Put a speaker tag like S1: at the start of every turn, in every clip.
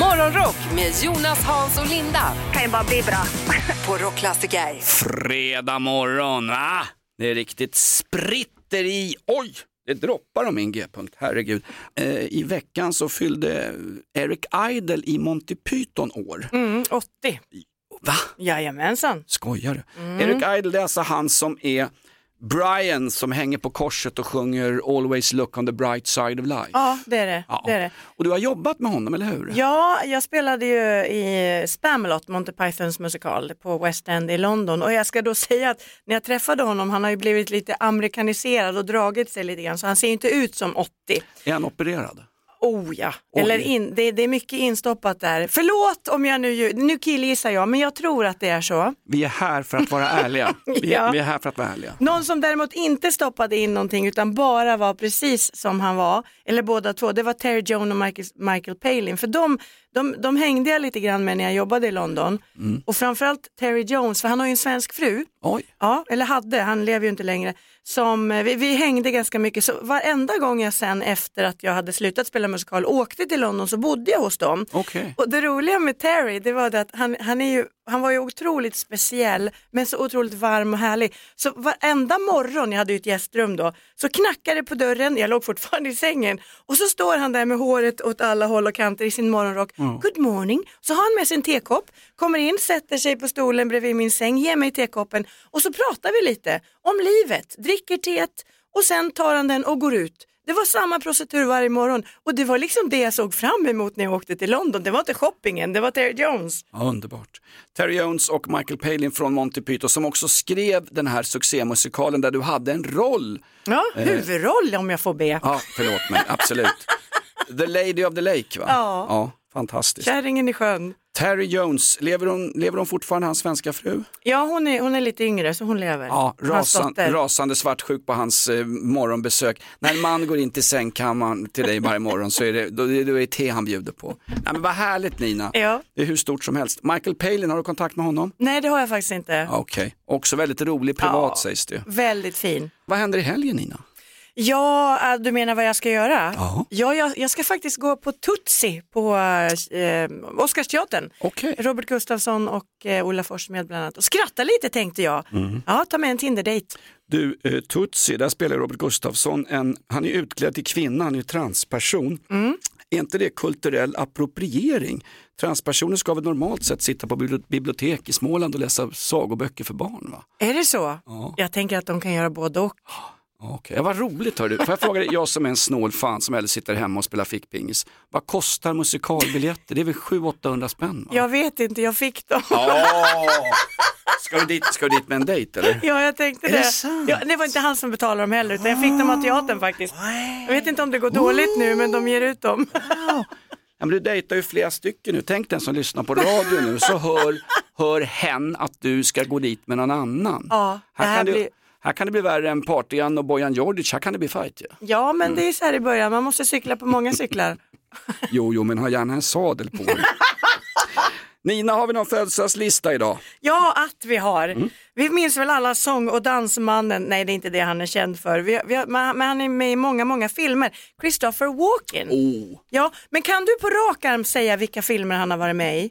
S1: Morgonrock med Jonas, Hans och Linda
S2: kan ju bara bli bra.
S1: på Rockklassiker.
S3: Fredag morgon, ah, det är riktigt spritter i, oj, det droppar om min g-punkt, herregud. Eh, I veckan så fyllde Eric Idle i Monty Python år.
S2: Mm, 80.
S3: Va?
S2: Jajamensan.
S3: Skojar du?
S2: Mm.
S3: Eric Idle det är alltså han som är Brian som hänger på korset och sjunger Always look on the bright side of life.
S2: Ja, det är det.
S3: Ja.
S2: det, är det.
S3: Och du har jobbat med honom, eller hur?
S2: Ja, jag spelade ju i Spamalot, Monty Pythons musikal på West End i London och jag ska då säga att när jag träffade honom, han har ju blivit lite amerikaniserad och dragit sig lite grann så han ser ju inte ut som 80.
S3: Är han opererad?
S2: Oh ja,
S3: Oj.
S2: Eller in, det, det är mycket instoppat där. Förlåt om jag nu, lju- nu killgissar jag, men jag tror att det är så.
S3: Vi är här för att vara ärliga. Vi är,
S2: Ja.
S3: vi är här för att vara ärliga.
S2: Någon som däremot inte stoppade in någonting utan bara var precis som han var, eller båda två, det var Terry Joan och Michael, Michael Palin. För de, de, de hängde jag lite grann med när jag jobbade i London. Och framförallt Terry Jones, för han har ju en svensk fru.
S3: Oj,
S2: Ja, eller hade, han lever ju inte längre. Som, eh, vi, vi hängde ganska mycket, så varenda gång jag sen efter att jag hade slutat spela musikal åkte till London så bodde jag hos dem.
S3: okej.
S2: Och det roliga med Terry, det var det att han, han, är ju, han var ju otroligt speciell, men så otroligt varm och härlig. Så varenda morgon, jag hade ju ett gästrum då, så knackade det på dörren, jag låg fortfarande i sängen, och så står han där med håret åt alla håll och kanter i sin morgonrock. Good morning. Så har han med sin tekopp, kommer in, sätter sig på stolen bredvid min säng, ger mig tekoppen och så pratar vi lite om livet, dricker teet och sen tar han den och går ut. Det var samma procedur varje morgon och det var liksom det jag såg fram emot när jag åkte till London. Det var inte shoppingen, det var Terry Jones.
S3: Ja, underbart. Terry Jones och Michael Palin från Monty Python som också skrev den här succémusikalen där du hade en roll.
S2: Ja, Eh. huvudroll om jag får be.
S3: Ja, förlåt mig, absolut. The Lady of the Lake va?
S2: Ja.
S3: fantastiskt.
S2: Kärringen i sjön.
S3: Terry Jones, lever hon, lever hon fortfarande, hans svenska fru?
S2: Ja, hon är, hon är lite yngre så hon lever.
S3: Ja,
S2: Hans
S3: rasan,
S2: dotter.
S3: rasande svartsjuk på hans eh, morgonbesök. När en man går in till sängkammaren till dig varje morgon så är det, då, då är det te han bjuder på. Nej, men vad härligt Nina,
S2: Ja.
S3: det är hur stort som helst. Michael Palin, har du kontakt med honom?
S2: Nej, det har jag faktiskt inte.
S3: Ja, Okej, också väldigt rolig privat sägs det.
S2: Väldigt fin.
S3: Vad händer i helgen Nina?
S2: Ja, äh, du menar vad jag ska göra?
S3: Ja.
S2: Ja, jag, jag ska faktiskt gå på Tutsi på eh, Oscarsteatern.
S3: Okej.
S2: Robert Gustafsson och eh, Ola Forssmed bland annat. Och skratta lite tänkte jag.
S3: Mm.
S2: Ja, ta med en Tinder-dejt.
S3: Du, eh, Tutsi, där spelar Robert Gustafsson en, han är utklädd till kvinna, han är ju transperson. Är inte det kulturell appropriering? Transpersoner ska väl normalt sett sitta på bibli- bibliotek i Småland och läsa sagoböcker för barn va?
S2: Är det så?
S3: Ja.
S2: Jag tänker att de kan göra både och.
S3: Okej, ja, vad roligt hörru. Får jag fråga dig, jag som är en snål fan som hellre sitter hemma och spelar fickpingis. Vad kostar musikalbiljetter? Det är väl 700-800 spänn? Va?
S2: Jag vet inte, jag fick dem.
S3: Ja. Ska, du dit, ska du dit med en dejt eller?
S2: Ja, jag tänkte
S3: det
S2: det.
S3: sant?
S2: ja, det var inte han som betalade dem heller, utan jag fick dem av teatern faktiskt. Jag vet inte om det går dåligt nu, men de ger ut dem.
S3: Ja, men du dejtar ju flera stycken nu. Tänk den som lyssnar på radio nu så hör, hör hen att du ska gå dit med någon annan.
S2: Ja, det
S3: här,
S2: här
S3: kan det,
S2: blir-
S3: här kan det bli värre än Partigan och Bojan Djordjic. Här kan det bli fight. Ja.
S2: Ja, men det är så här i början, man måste cykla på många cyklar.
S3: Jo, jo, men ha gärna en sadel på dig. Nina, har vi någon födelsedagslista idag?
S2: Ja, att vi har.
S3: Mm.
S2: Vi minns väl alla sång och dansmannen, nej det är inte det han är känd för, vi, vi, har- men men han är med i många, många filmer. Christopher Walken.
S3: Oh.
S2: Ja, men kan du på rak arm säga vilka filmer han har varit med i?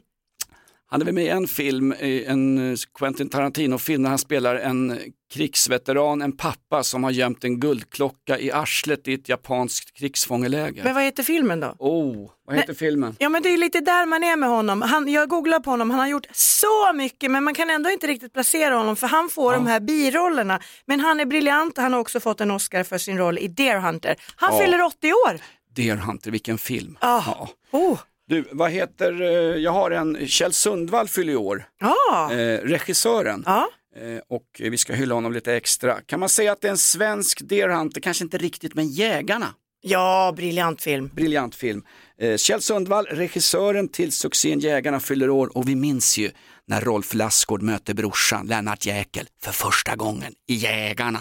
S3: Han är väl med i en film, i en eh, Quentin Tarantino-film, där han spelar en eh, krigsveteran, en pappa som har gömt en guldklocka i arslet i ett japanskt krigsfångeläger.
S2: Men vad heter filmen då?
S3: Oh, vad heter filmen?
S2: Ja men det är lite där man är med honom. Han, jag googlar på honom, han har gjort så mycket men man kan ändå inte riktigt placera honom för han får de här birollerna. Men han är briljant och han har också fått en Oscar för sin roll i Deer Hunter. Han
S3: Ja.
S2: fyller 80 år.
S3: Deer Hunter, vilken film.
S2: Ah.
S3: Ja.
S2: Oh.
S3: Du, vad heter, eh, jag har en, Kjell Sundvall fyller i år,
S2: Ja.
S3: eh, regissören.
S2: ja.
S3: Eh, och vi ska hylla honom lite extra. Kan man säga att det är en svensk Deer Hunter, kanske inte riktigt, men Jägarna.
S2: Ja, briljant film.
S3: Briljant film. Eh, Kjell Sundvall, regissören till succén Jägarna fyller år och vi minns ju när Rolf Lassgård möter brorsan Lennart Jäkel för första gången i Jägarna.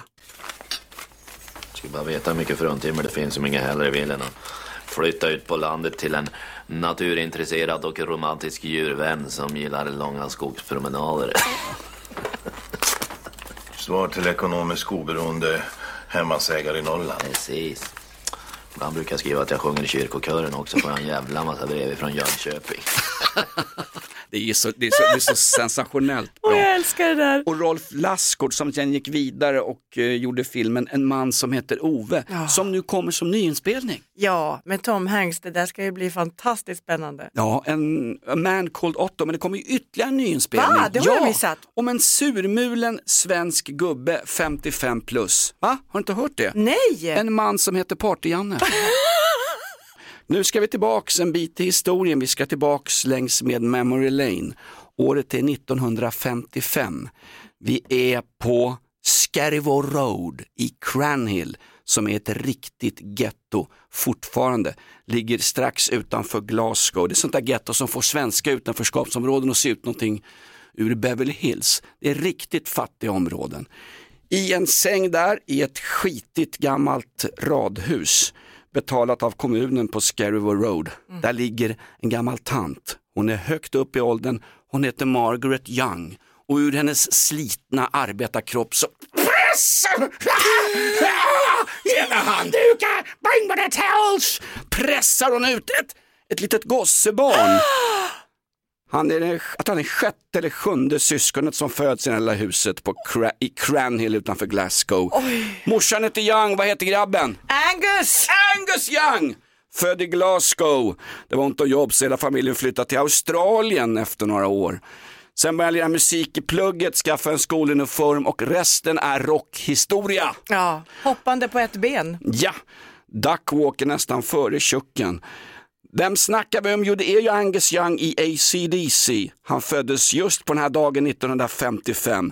S4: Ska bara veta hur mycket fruntimmer det finns som inga hellre vill än att flytta ut på landet till en naturintresserad och romantisk djurvän som gillar långa skogspromenader.
S5: Svar till ekonomiskt oberoende hemmansägare i Norrland.
S4: Precis. Han brukar skriva att jag sjunger i kyrkokören också. Får jag en jävla massa brev från Jönköping.
S3: Det är så, det är så, det är så sensationellt
S2: Och jag
S3: bra.
S2: älskar det där.
S3: Och Rolf Lassgård som sen gick vidare och eh, gjorde filmen En man som heter Ove som nu kommer som nyinspelning.
S2: Ja, med Tom Hanks, det där ska ju bli fantastiskt spännande.
S3: Ja, en A Man Called Otto, men det kommer ju ytterligare en nyinspelning.
S2: Va? Det har
S3: ja,
S2: jag missat.
S3: Om en surmulen svensk gubbe 55 plus. Va? Har du inte hört det?
S2: Nej!
S3: En man som heter Party-Janne. nu ska vi tillbaks en bit i historien. Vi ska tillbaks längs med Memory Lane. Året är 1955. Vi är på Scarivore Road i Cranhill som är ett riktigt getto fortfarande. Ligger strax utanför Glasgow. Det är sånt där getto som får svenska utanförskapsområden att se ut någonting ur Beverly Hills. Det är riktigt fattiga områden i en säng där i ett skitigt gammalt radhus betalat av kommunen på Scarivore Road. Där ligger en gammal tant. Hon är högt upp i åldern. Hon heter Margaret Young och ur hennes slitna arbetarkropp så pressen! Ena handdukar, bring me the towels! Pressar hon ut ett, ett litet gossebarn. Han är, den- att han är sjätte eller sjunde syskonet som föds i det här lilla huset på Cra- i Cranhill utanför Glasgow. Morsan heter Young, vad heter grabben?
S2: Angus!
S3: Angus Young! Född i Glasgow. Det var ont om jobb så hela familjen flyttade till Australien efter några år. Sen började han lära musik i plugget, skaffa en skoluniform och resten är rockhistoria.
S2: Ja, hoppande på ett ben.
S3: Ja, Duck Walker nästan före tjocken. Vem snackar vi om? Jo, det är ju Angus Young i AC/DC. Han föddes just på den här dagen 1955.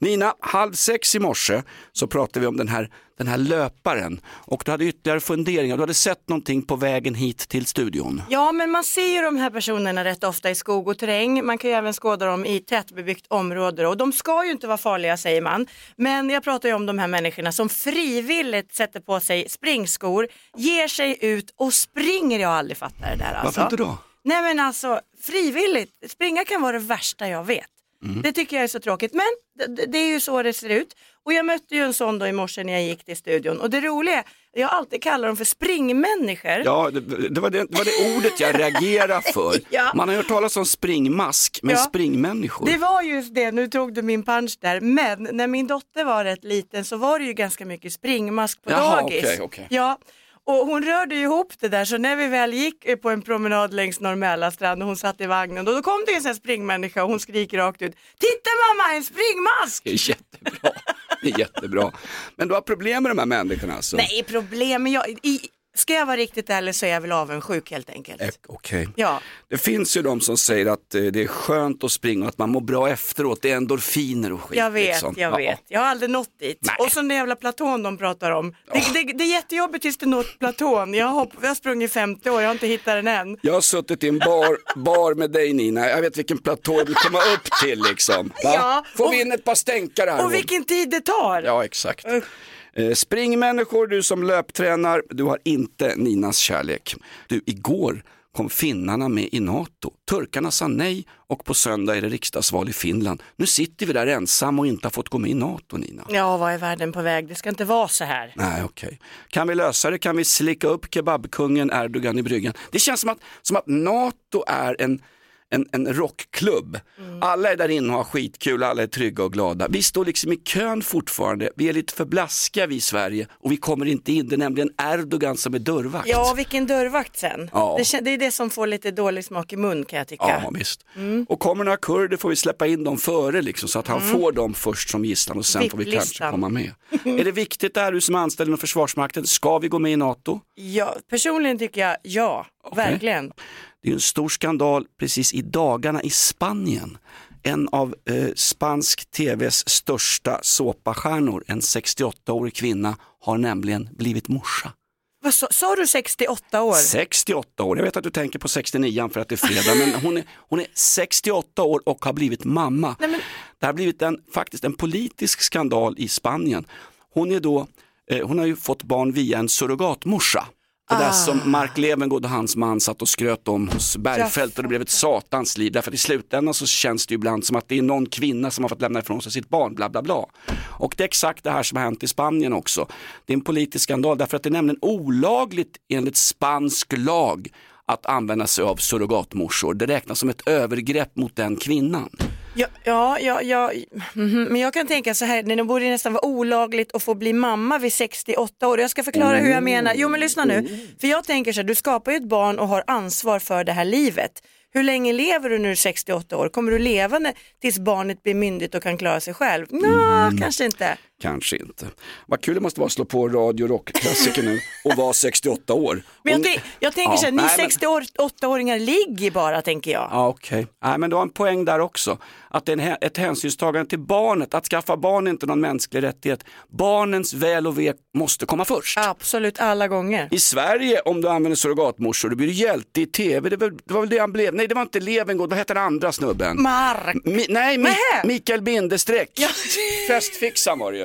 S3: Nina, halv sex i morse så pratade vi om den här, den här löparen och du hade ytterligare funderingar. Du hade sett någonting på vägen hit till studion.
S2: Ja, men man ser ju de här personerna rätt ofta i skog och terräng. Man kan ju även skåda dem i tätbebyggt område och de ska ju inte vara farliga säger man. Men jag pratar ju om de här människorna som frivilligt sätter på sig springskor, ger sig ut och springer. Jag har aldrig fattat det där alltså.
S3: Varför inte då?
S2: Nej men alltså frivilligt, springa kan vara det värsta jag vet.
S3: Mm.
S2: Det tycker jag är så tråkigt men det- det, det är ju så det ser ut. Och jag mötte ju en sån då i morse när jag gick till studion och det roliga, är, jag har alltid kallar dem för springmänniskor.
S3: Ja, det, det, var det, det var det ordet jag reagerade för.
S2: Ja.
S3: Man har hört talas om springmask, men
S2: Ja.
S3: springmänniskor.
S2: Det var just det, nu tog du min punch där, men när min dotter var rätt liten så var det ju ganska mycket springmask på
S3: Jaha,
S2: dagis.
S3: okej, okej.
S2: Ja. Och hon rörde ju ihop det där så när vi väl gick eh, på en promenad längs Norrmälarstrand och hon satt i vagnen då, då kom det en sån här springmänniska och hon skriker rakt ut Titta mamma en springmask!
S3: Det är jättebra. Det är jättebra. Men du har problem med de här människorna alltså?
S2: Nej problem, men jag, i, ska jag vara riktigt ärlig så är jag väl avundsjuk helt enkelt.
S3: Eh, Okej.
S2: Ja.
S3: Det finns ju de som säger att eh, det är skönt att springa och att man mår bra efteråt. Det är endorfiner och skit.
S2: Jag vet,
S3: liksom.
S2: jag
S3: Ja.
S2: vet. Jag har aldrig nått dit.
S3: Nej.
S2: Och så den jävla platån de pratar om. Det, det, det är jättejobbigt tills du nått platån. Jag har, hopp, jag har sprungit 50 år, jag har inte hittat den än.
S3: Jag har suttit i en bar, bar med dig Nina, jag vet vilken platå du vill komma upp till liksom. Va?
S2: Ja,
S3: Får
S2: och-
S3: vi in ett par stänkare här? Rob?
S2: Och vilken tid det tar!
S3: Ja, exakt. Eh, springmänniskor, du som löptränar, du har inte Ninas kärlek. Du, igår kom finnarna med i NATO. Turkarna sa nej och på söndag är det riksdagsval i Finland. Nu sitter vi där ensam och inte har fått gå med i NATO, Nina.
S2: Ja, vad är världen på väg? Det ska inte vara så här.
S3: Nej, okej. Kan vi lösa det? Kan vi slicka upp kebabkungen Erdogan i bryggan? Det känns som att, som att NATO är en, en, en rockklubb. Alla är där inne och har skitkul, alla är trygga och glada. Vi står liksom i kön fortfarande. Vi är lite för blaskiga vi i Sverige och vi kommer inte in. Det är nämligen Erdogan som är dörrvakt.
S2: Ja, vilken dörrvakt sen.
S3: Ja.
S2: Det, kän- det är det som får lite dålig smak i mun kan jag tycka.
S3: Ja, visst. Och kommer några kurder får vi släppa in dem före liksom, så att han får dem först som gisslan och sen får vi kanske
S2: VIP-listan.
S3: komma med. är det viktigt det här, du som är anställd inom Försvarsmakten, ska vi gå med i NATO?
S2: Ja, personligen tycker jag ja, verkligen.
S3: Det är ju en stor skandal precis i dagarna i Spanien. En av eh, spansk tvs största såpastjärnor, en 68-årig kvinna, har nämligen blivit morsa.
S2: Vad sa, sa du 68 år?
S3: 68 år, jag vet att du tänker på 69 för att det är fredag, men hon är, hon är 68 år och har blivit mamma. Det har blivit en, faktiskt en politisk skandal i Spanien. Hon, är då, eh, hon har ju fått barn via en surrogatmorsa. Det där som Mark Levengood och hans man satt och skröt om hos Bergfeldt och det blev ett satans liv. Därför att i slutändan så känns det ju ibland som att det är någon kvinna som har fått lämna ifrån sig sitt barn, bla bla bla. Och det är exakt det här som har hänt i Spanien också. Det är en politisk skandal därför att det är nämligen olagligt enligt spansk lag att använda sig av surrogatmorsor. Det räknas som ett övergrepp mot den kvinnan.
S2: Ja, ja, ja, ja. mhm. men jag kan tänka så här, det borde nästan vara olagligt att få bli mamma vid 68 år. Jag ska förklara hur jag menar. Jo men lyssna nu, för jag tänker så här, du skapar ju ett barn och har ansvar för det här livet. Hur länge lever du när du är 68 år? Kommer du leva när, tills barnet blir myndigt och kan klara sig själv? Nå,
S3: Mm.
S2: kanske inte.
S3: Kanske inte. Vad kul det måste vara att slå på radio och rockklassiker nu och vara 68 år.
S2: Men jag,
S3: Och-
S2: tänk- jag tänker
S3: Ja,
S2: så här, ni
S3: nej, men-
S2: 68-åringar ligger bara tänker jag.
S3: Ja, okej. Nej, men du har en poäng där också. Att det är en hä- ett hänsynstagande till barnet. Att skaffa barn är inte någon mänsklig rättighet. Barnens väl och ve måste komma först.
S2: Absolut alla gånger.
S3: I Sverige, om du använder surrogatmorsor, då blir du hjälte i tv. Det var, det var väl det han blev. Nej, det var inte Levengood. Vad hette den andra snubben?
S2: Mark.
S3: Mi- nej, Mi-
S2: Nähä.
S3: Mikael Bindestreck.
S2: Ja.
S3: Festfixaren var det ju.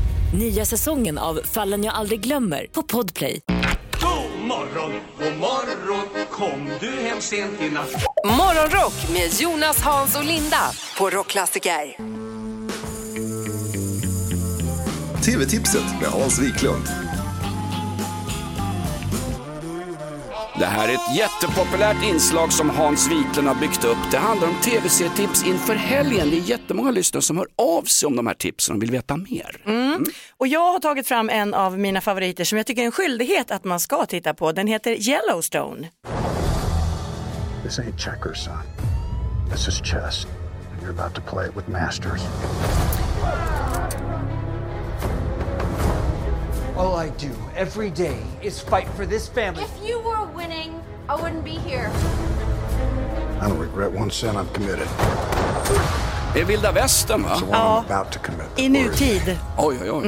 S5: Nya säsongen av Fallen jag aldrig glömmer på Podplay.
S6: God morgon, god morgon, kom du hem sent i natt?
S1: Morgonrock med Jonas, Hans och Linda på Rockklassiker.
S7: TV-tipset med Hans Wiklund.
S3: Det här är ett jättepopulärt inslag som Hans Wiklund har byggt upp. Det handlar om tv-serietips inför helgen. Det är jättemånga lyssnare som hör av sig om de här tipsen och vill veta mer.
S2: Och jag har tagit fram en av mina favoriter som jag tycker är en skyldighet att man ska titta på. Den heter Yellowstone.
S8: This ain't checkers, son. This is chess. And you're about to play it with masters.
S6: All I do every day is fight for this family.
S9: If you were winning, I wouldn't be here.
S8: I don't regret one sin I've committed.
S3: Det är vilda västern va?
S8: The one I'm about to commit.
S2: I nutid.
S3: Oj, oj, oj.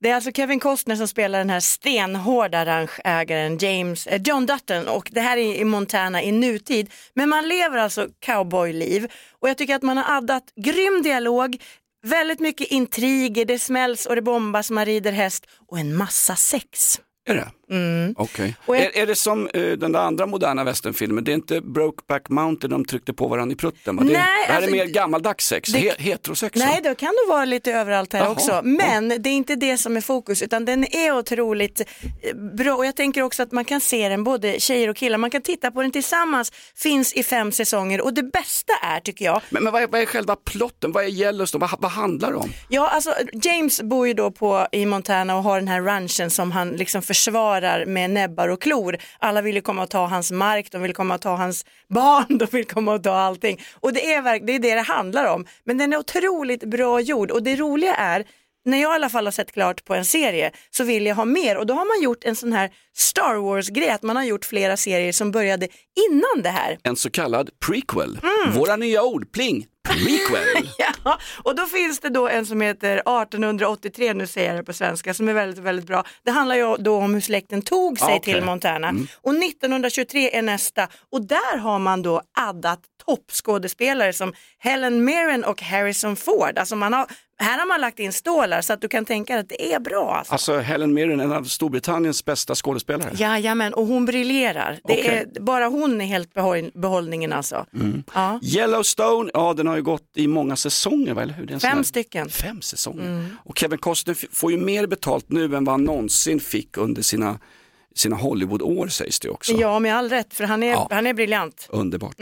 S2: Det är alltså Kevin Costner som spelar den här stenhårda ranchägaren James, eh, John Dutton och det här är i Montana i nutid. Men man lever alltså cowboyliv och jag tycker att man har addat grym dialog, väldigt mycket intriger, det smälls och det bombas, man rider häst och en massa sex.
S3: Är det? Okej.
S2: Mm. Och jag-
S3: Är, är det som eh, den där andra moderna västernfilmen? Det är inte Brokeback Mountain de tryckte på varandra i prutten va? Det,
S2: Nej,
S3: det här
S2: alltså,
S3: är mer gammaldags sex,
S2: det-
S3: he, heterosex. va?
S2: Nej, det kan nog vara lite överallt här
S3: Jaha.
S2: också. Men det är inte det som är fokus, utan den är otroligt eh, bra. Och jag tänker också att man kan se den både tjejer och killar. Man kan titta på den tillsammans, finns i fem säsonger. Och det bästa är, tycker jag,
S3: Men, men vad, är, vad är själva plotten? Vad är Yellowstone? Vad, vad handlar det om?
S2: Ja, alltså James bor ju då på, i Montana och har den här ranchen som han liksom försvarar med näbbar och klor. Alla vill ju komma och ta hans mark, de vill komma och ta hans barn, de vill komma och ta allting. Och det är, verk- det är det det handlar om. Men den är otroligt bra gjord och det roliga är när jag i alla fall har sett klart på en serie så vill jag ha mer och då har man gjort en sån här Star Wars-grej att man har gjort flera serier som började innan det här.
S3: En så kallad prequel.
S2: Mm.
S3: Våra nya ord, pling, prequel.
S2: Ja, och då finns det då en som heter 1883, nu säger jag det på svenska, som är väldigt, väldigt bra. Det handlar ju då om hur släkten tog sig
S3: Ah, okej.
S2: till Montana. Och 1923 är nästa och där har man då addat toppskådespelare som Helen Mirren och Harrison Ford. Alltså man har, här har man lagt in stålar så att du kan tänka dig att det är bra. Alltså.
S3: Alltså Helen Mirren, en av Storbritanniens bästa skådespelare.
S2: Jajamän, och hon briljerar. Det
S3: Okej. Mm.
S2: är, bara hon är helt behåll, behållningen alltså. Ja.
S3: Yellowstone, ja den har ju gått i många säsonger, va? eller hur? Det är en sån
S2: Fem
S3: här-
S2: stycken.
S3: Fem säsonger. Och Kevin Costner f- får ju mer betalt nu än vad han någonsin fick under sina, sina Hollywood-år sägs det också.
S2: ja, med all rätt, för han är,
S3: Ja.
S2: han är briljant.
S3: Underbart.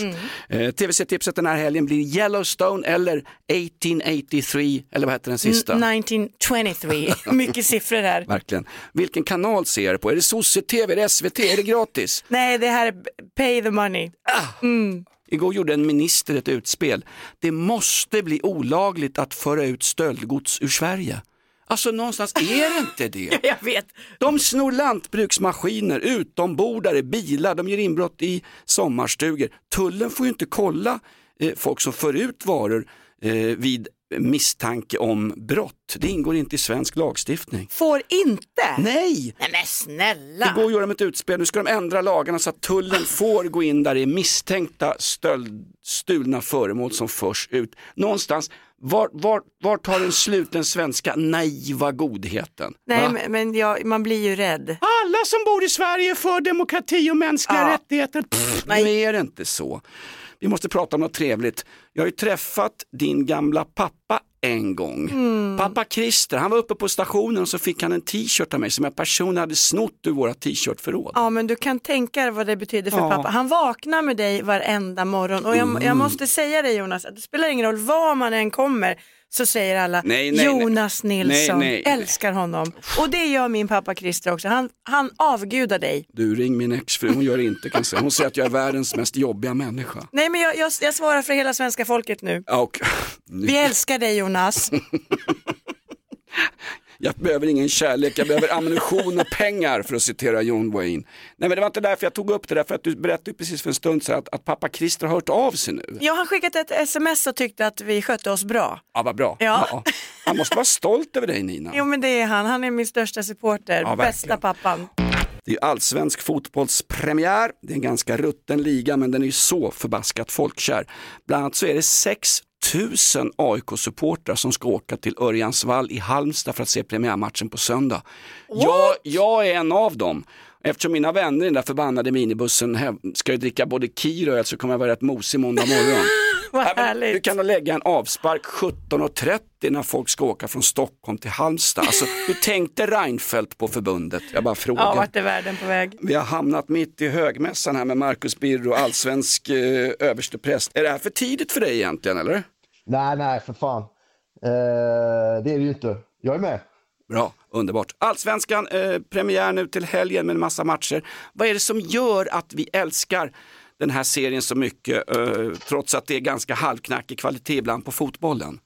S3: Eh, Tv-tipset den här helgen blir Yellowstone eller 1883, eller vad heter den sista?
S2: 1923, mycket siffror här.
S3: Verkligen. Vilken kanal ser jag det på? Är det sosse-tv, är det SVT, är det gratis?
S2: Nej, det här är b- pay the money.
S3: Igår gjorde en minister ett utspel. Det måste bli olagligt att föra ut stöldgods ur Sverige. Alltså någonstans är det inte det.
S2: Jag vet.
S3: De snor lantbruksmaskiner, utombordare, bilar, de gör inbrott i sommarstugor. Tullen får ju inte kolla eh, folk som för ut varor eh, vid misstanke om brott. Det ingår inte i svensk lagstiftning.
S2: Får inte?
S3: Nej!
S2: Nej men snälla.
S3: Det går att göra med ett utspel, nu ska de ändra lagarna så att tullen får gå in där det är misstänkta stöld, stulna föremål som förs ut. Någonstans, var, var, var tar den slut den svenska naiva godheten?
S2: Nej
S3: Va?
S2: men, men jag, man blir ju rädd.
S3: Alla som bor i Sverige är för demokrati och mänskliga
S2: Ja.
S3: rättigheter. Pff, nu är det inte så. Vi måste prata om något trevligt. Jag har ju träffat din gamla pappa en gång. Pappa Christer, han var uppe på stationen och så fick han en t-shirt av mig som en person hade snott ur våra t-shirtförråd.
S2: Ja men du kan tänka dig vad det betyder för
S3: Ja. Mm.
S2: pappa. Han vaknar med dig varenda morgon och jag, jag måste säga det Jonas, att det spelar ingen roll var man än kommer så säger alla
S3: Nej, nej, nej.
S2: Jonas Nilsson,
S3: Nej, nej, nej.
S2: älskar honom. Och det gör min pappa Christer också, han, han avgudar dig.
S3: Du ring min exfru, hon gör det inte kan jag säga. Hon säger att jag är världens mest jobbiga människa.
S2: Nej men jag, jag, jag svarar för hela svenska folket nu.
S3: Ja, Och, nu,
S2: Vi älskar dig Jonas.
S3: jag behöver ingen kärlek, jag behöver ammunition och pengar för att citera John Wayne. Nej men det var inte därför jag tog upp det där, för att du berättade ju precis för en stund sedan att, att pappa Christer har hört av sig nu.
S2: Jag har skickat ett sms och tyckte att vi skötte oss bra.
S3: Ja, vad bra.
S2: Ja.
S3: Han måste vara stolt över dig Nina.
S2: Jo men det är han, han är min största supporter,
S3: Ja, verkligen.
S2: bästa pappan.
S3: Det är allsvensk fotbollspremiär. Det är en ganska rutten liga men den är ju så förbaskat folkkär. Bland annat så är det 6 000 AIK-supportrar som ska åka till Örjansvall i Halmstad för att se premiärmatchen på söndag. Jag, jag är en av dem. Eftersom mina vänner i den där förbannade minibussen häv- ska ju dricka både Kir och öl så kommer jag vara rätt mosig måndag morgon.
S2: Vad
S3: Nej, men Du
S2: härligt.
S3: kan då lägga en avspark 17.30 när folk ska åka från Stockholm till Halmstad. Alltså, hur tänkte Reinfeldt på förbundet? Jag bara frågar.
S2: Ja, vart är världen på väg?
S3: Vi har hamnat mitt i högmässan här med Marcus Birro, allsvensk eh, överstepräst. Är det här för tidigt för dig egentligen eller?
S10: Nej, nej, för fan. Eh, det är det ju inte. Jag är med.
S3: Bra, underbart. Allsvenskan, eh, premiär nu till helgen med en massa matcher. Vad är det som gör att vi älskar den här serien så mycket, eh, trots att det är ganska halvknackig kvalitet ibland på fotbollen?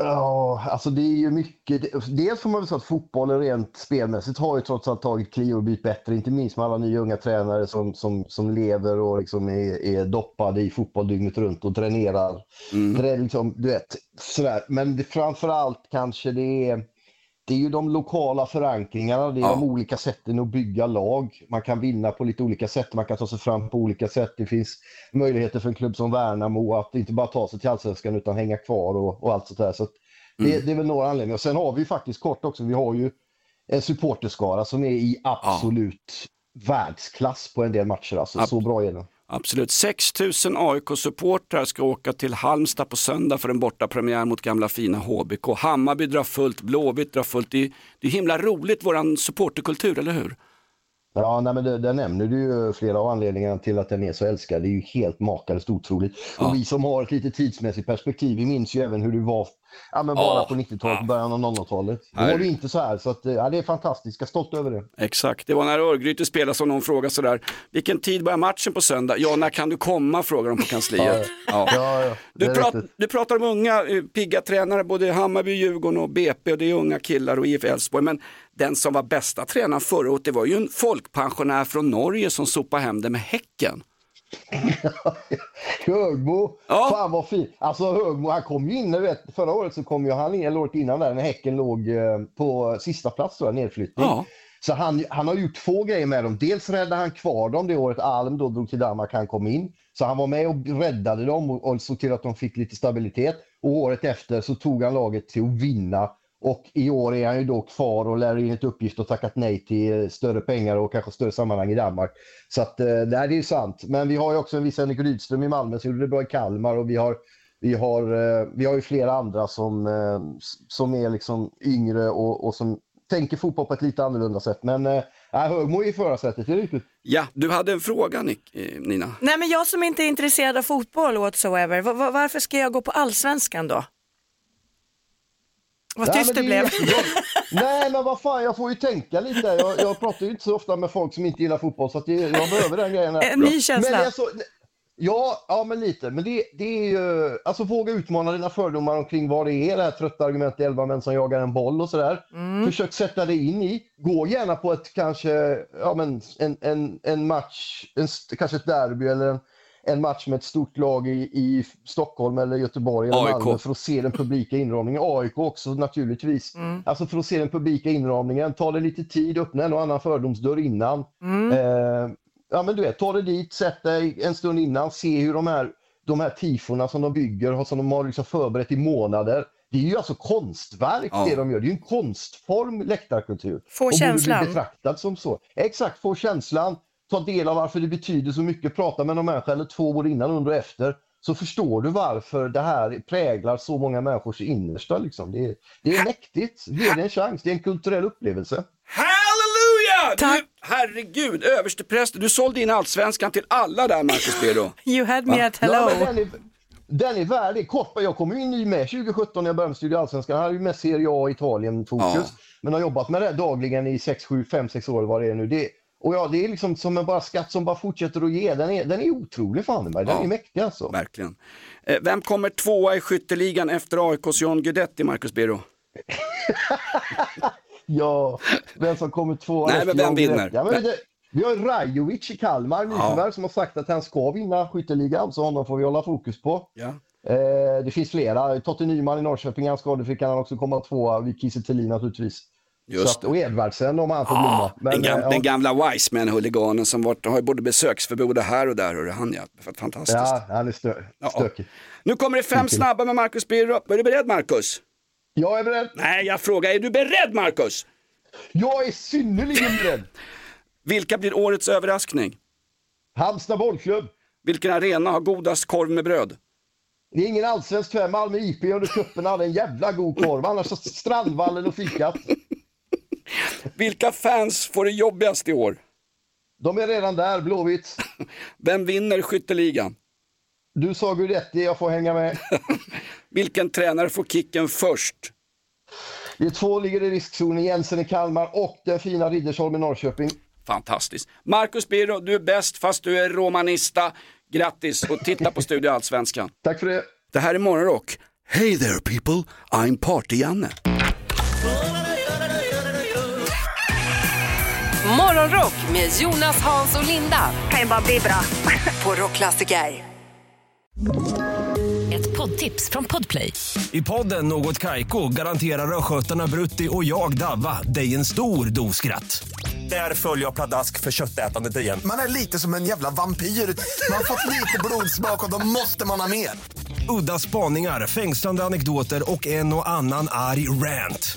S10: Ja, alltså det är ju mycket. Dels får man väl säga att fotbollen rent spelmässigt har ju trots allt tagit kliv och blivit bättre. Inte minst med alla nya unga tränare som, som, som lever och liksom är, är doppade i fotboll dygnet runt och tränerar. Det är liksom, du vet, sådär. Men det, framför allt kanske det är, det är ju de lokala förankringarna. Det är de olika sätten att bygga lag. Man kan vinna på lite olika sätt. Man kan ta sig fram på olika sätt. Det finns möjligheter för en klubb som Värnamo att inte bara ta sig till allsvenskan utan hänga kvar och, och allt sånt där. Så att det, det är väl några anledningar. Och sen har vi ju faktiskt kort också, vi har ju en supporterskara som är i absolut världsklass på en del matcher. Alltså, så bra är den.
S3: Absolut, 6 000 AIK-supportrar ska åka till Halmstad på söndag för en bortapremiär mot gamla fina HBK. Hammarby drar fullt, Blåvitt drar fullt. Det är, det är himla roligt, våran supporterkultur, eller hur?
S10: Ja, nej, men det, där nämner du ju flera av anledningarna till att den är så älskad. Det är ju helt makalöst otroligt. Och vi som har ett lite tidsmässigt perspektiv, vi minns ju även hur det var ja, men bara
S3: Ja.
S10: på 90-talet och början av 00-talet. Då
S3: Nej.
S10: var det ju inte så här, så att, eh, ja, det är fantastiskt. Jag är stolt över det.
S3: Exakt, det var när Örgryte spelade som någon frågade sådär, vilken tid börjar matchen på söndag? Ja, när kan du komma? frågar de på kansliet. Ja.
S10: det
S3: Du,
S10: är
S3: prat,
S10: riktigt.
S3: du pratar om unga eh, pigga tränare, både Hammarby, Djurgården och BP och det är unga killar och IF Elfsborg. Men den som var bästa tränaren förra året, det var ju en folkpensionär från Norge som sopade hem det med Häcken.
S10: Högmo, fan vad fint. Alltså Högmo, han kom ju in, du vet, förra året så kom ju han in, eller året innan där, när Häcken låg eh, på sista plats då, nedflyttning. Så han, han har gjort två grejer med dem. Dels räddade han kvar dem det året Alm då drog till Danmark, han kom in. Så han var med och räddade dem och, och såg till att de fick lite stabilitet. Och året efter så tog han laget till att vinna. Och i år är han ju då kvar och lär enligt uppgift ha tackat nej till eh, större pengar och kanske större sammanhang i Danmark. Så att, eh, det här är ju sant. Men vi har ju också en viss Henrik Rydström i Malmö som gjorde det bra i Kalmar och vi har, vi har, eh, vi har ju flera andra som, eh, som är liksom yngre och, och som tänker fotboll på ett lite annorlunda sätt. Men eh, nej, Högmo är i förarsätet, det är riktigt.
S3: Ja, du hade en fråga Nick, eh, Nina.
S2: Nej men jag som inte är intresserad av fotboll whatsoever, va- va- varför ska jag gå på allsvenskan då? Vad
S10: Nej,
S2: tyst
S10: men
S2: det
S10: är
S2: blev.
S10: jättebra. Nej, men vad fan, jag får ju tänka lite. Jag, jag pratar ju inte så ofta med folk som inte gillar fotboll, så att jag, jag behöver den grejen. här.
S2: En ny känsla.
S10: Men det är så, Ja, ja men lite. Men det, det är ju, alltså våga utmana dina fördomar omkring vad det är, det här trötta argumentet 11 män som jagar en boll och sådär.
S11: Mm.
S10: Försök sätta dig in i. Gå gärna på ett kanske, ja men en, en, en match, en, st- kanske ett derby eller en, en match med ett stort lag i, i Stockholm eller Göteborg eller
S3: AIK.
S10: Malmö för att se den publika inramningen. AIK också naturligtvis.
S11: Mm.
S10: Alltså för att se den publika inramningen. Ta det lite tid, öppna en och annan fördomsdörr innan.
S11: Mm.
S10: Eh, ja, men du vet, ta dig dit, sätt dig en stund innan, se hur de här, de här tifona som de bygger, har- som de har liksom förberett i månader. Det är ju alltså konstverk
S2: Ja.
S10: det de gör. Det är ju en konstform, läktarkultur.
S2: Få
S10: och borde
S2: känslan.
S10: Bli betraktad som så. Exakt, få känslan. Ta del av varför det betyder så mycket. Prata med någon människa eller två år innan, under och efter. Så förstår du varför det här präglar så många människors innersta. Liksom. Det, är, det är mäktigt. Ge det en chans. Det är en kulturell upplevelse.
S3: Halleluja! Tack. Du, herregud, översteprästen, du sålde in allsvenskan till alla där Marcus Birro.
S2: You had me
S3: Va?
S2: at hello.
S10: Ja, men den, är, den är värdig. Kort, jag kom ju in i med 2017 när jag började med Studio Allsvenskan. Jag hade ju med Serie A och Italien fokus.
S3: Ja.
S10: Men har jobbat med det här dagligen i 6, 7, 5, 6 år vad det är nu. Det, och ja, det är liksom som en bara skatt som bara fortsätter att ge. Den är, den är otrolig fan i mig. Den
S3: Ja.
S10: är mäktig alltså.
S3: Verkligen. Eh, Vem kommer tvåa i skytteligan efter AIKs John Guidetti, Marcus Birro?
S10: Ja, vem som kommer tvåa.
S3: Nej, men
S10: efter
S3: vem
S10: Jan Guidetti.
S3: vinner?
S10: Ja, men det, vi har ju Rajovic i Kalmar, Nyförvärv, som har sagt att han ska vinna skytteligan. Så honom får vi hålla fokus på.
S3: Ja.
S10: Eh, det finns flera. Totte Nyman i Norrköping, han skadefri, kan han också komma tvåa. Vi Kiese Thelin naturligtvis.
S3: Just
S10: Så att, och Edvardsen om han får blomma. Men,
S3: den, gam,
S10: eh, ja.
S3: den gamla Wiseman-huliganen som varit, har ju både besöksförbud här och där. Hörru, han ja, fantastiskt.
S10: Ja, han är stö
S3: Ja.
S10: stökig.
S3: Nu kommer det fem snabba med Marcus Birro. Är du beredd Marcus?
S10: Jag är beredd.
S3: Nej, jag frågar, är du beredd Marcus?
S10: Jag är synnerligen beredd.
S3: Vilka blir årets överraskning?
S10: Halmstad bollklubb.
S3: Vilken arena har godast korv med bröd?
S10: Det är ingen allsvensk tyvärr. Malmö IP under cupen hade en jävla god korv. Annars så Strandvallen och fikat.
S3: Vilka fans får det jobbigast i år?
S10: De är redan där, Blåvitt.
S3: Vem vinner skytteligan?
S10: Du sa Guidetti, jag får hänga med.
S3: Vilken tränare får kicken först?
S10: Det är två ligger i riskzonen, Jensen i Kalmar och den fina Riddersholm i Norrköping.
S3: Fantastiskt. Marcus Birro, du är bäst fast du är romanista. Grattis och titta på Studio Allsvenskan.
S10: Tack för det.
S3: Det här är Morgonrock. Hey there people, I'm Party-Janne.
S1: Morgonrock med Jonas, Hans och Linda. Kan ju bara bli bra. På Rockklassiker.
S5: Ett poddtips från Podplay.
S12: I podden Något Kaiko garanterar östgötarna Brutti och jag, Davva, dig en stor dos skratt. Där följer jag pladask för köttätandet igen.
S13: Man är lite som en jävla vampyr. Man har fått lite blodsmak och då måste man ha mer.
S12: Udda spaningar, fängslande anekdoter och en och annan arg rant.